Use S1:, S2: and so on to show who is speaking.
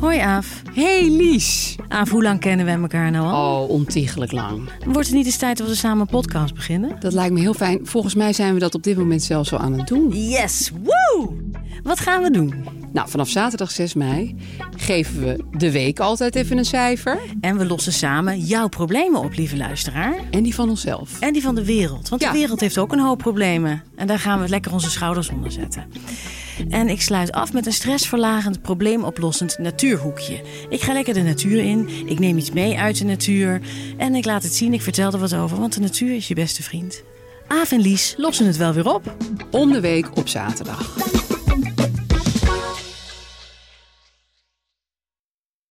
S1: Hoi Aaf.
S2: Hey Lies.
S1: Aaf, hoe lang kennen we elkaar nou al?
S2: Oh, ontiegelijk lang.
S1: Wordt het niet eens tijd dat we samen een podcast beginnen?
S2: Dat lijkt me heel fijn. Volgens mij zijn we dat op dit moment zelfs al aan het doen.
S1: Yes, woe! Wat gaan we doen?
S2: Nou, vanaf zaterdag 6 mei geven we de week altijd even een cijfer.
S1: En we lossen samen jouw problemen op, lieve luisteraar.
S2: En die van onszelf.
S1: En die van de wereld. Want
S2: Ja.
S1: de wereld heeft ook een hoop problemen. En daar gaan we lekker onze schouders onder zetten. En ik sluit af met een stressverlagend, probleemoplossend natuurhoekje. Ik ga lekker de natuur in. Ik neem iets mee uit de natuur. En ik laat het zien, ik vertel er wat over. Want de natuur is je beste vriend. Aaf en Lies lossen het wel weer op.
S2: Om de week op zaterdag.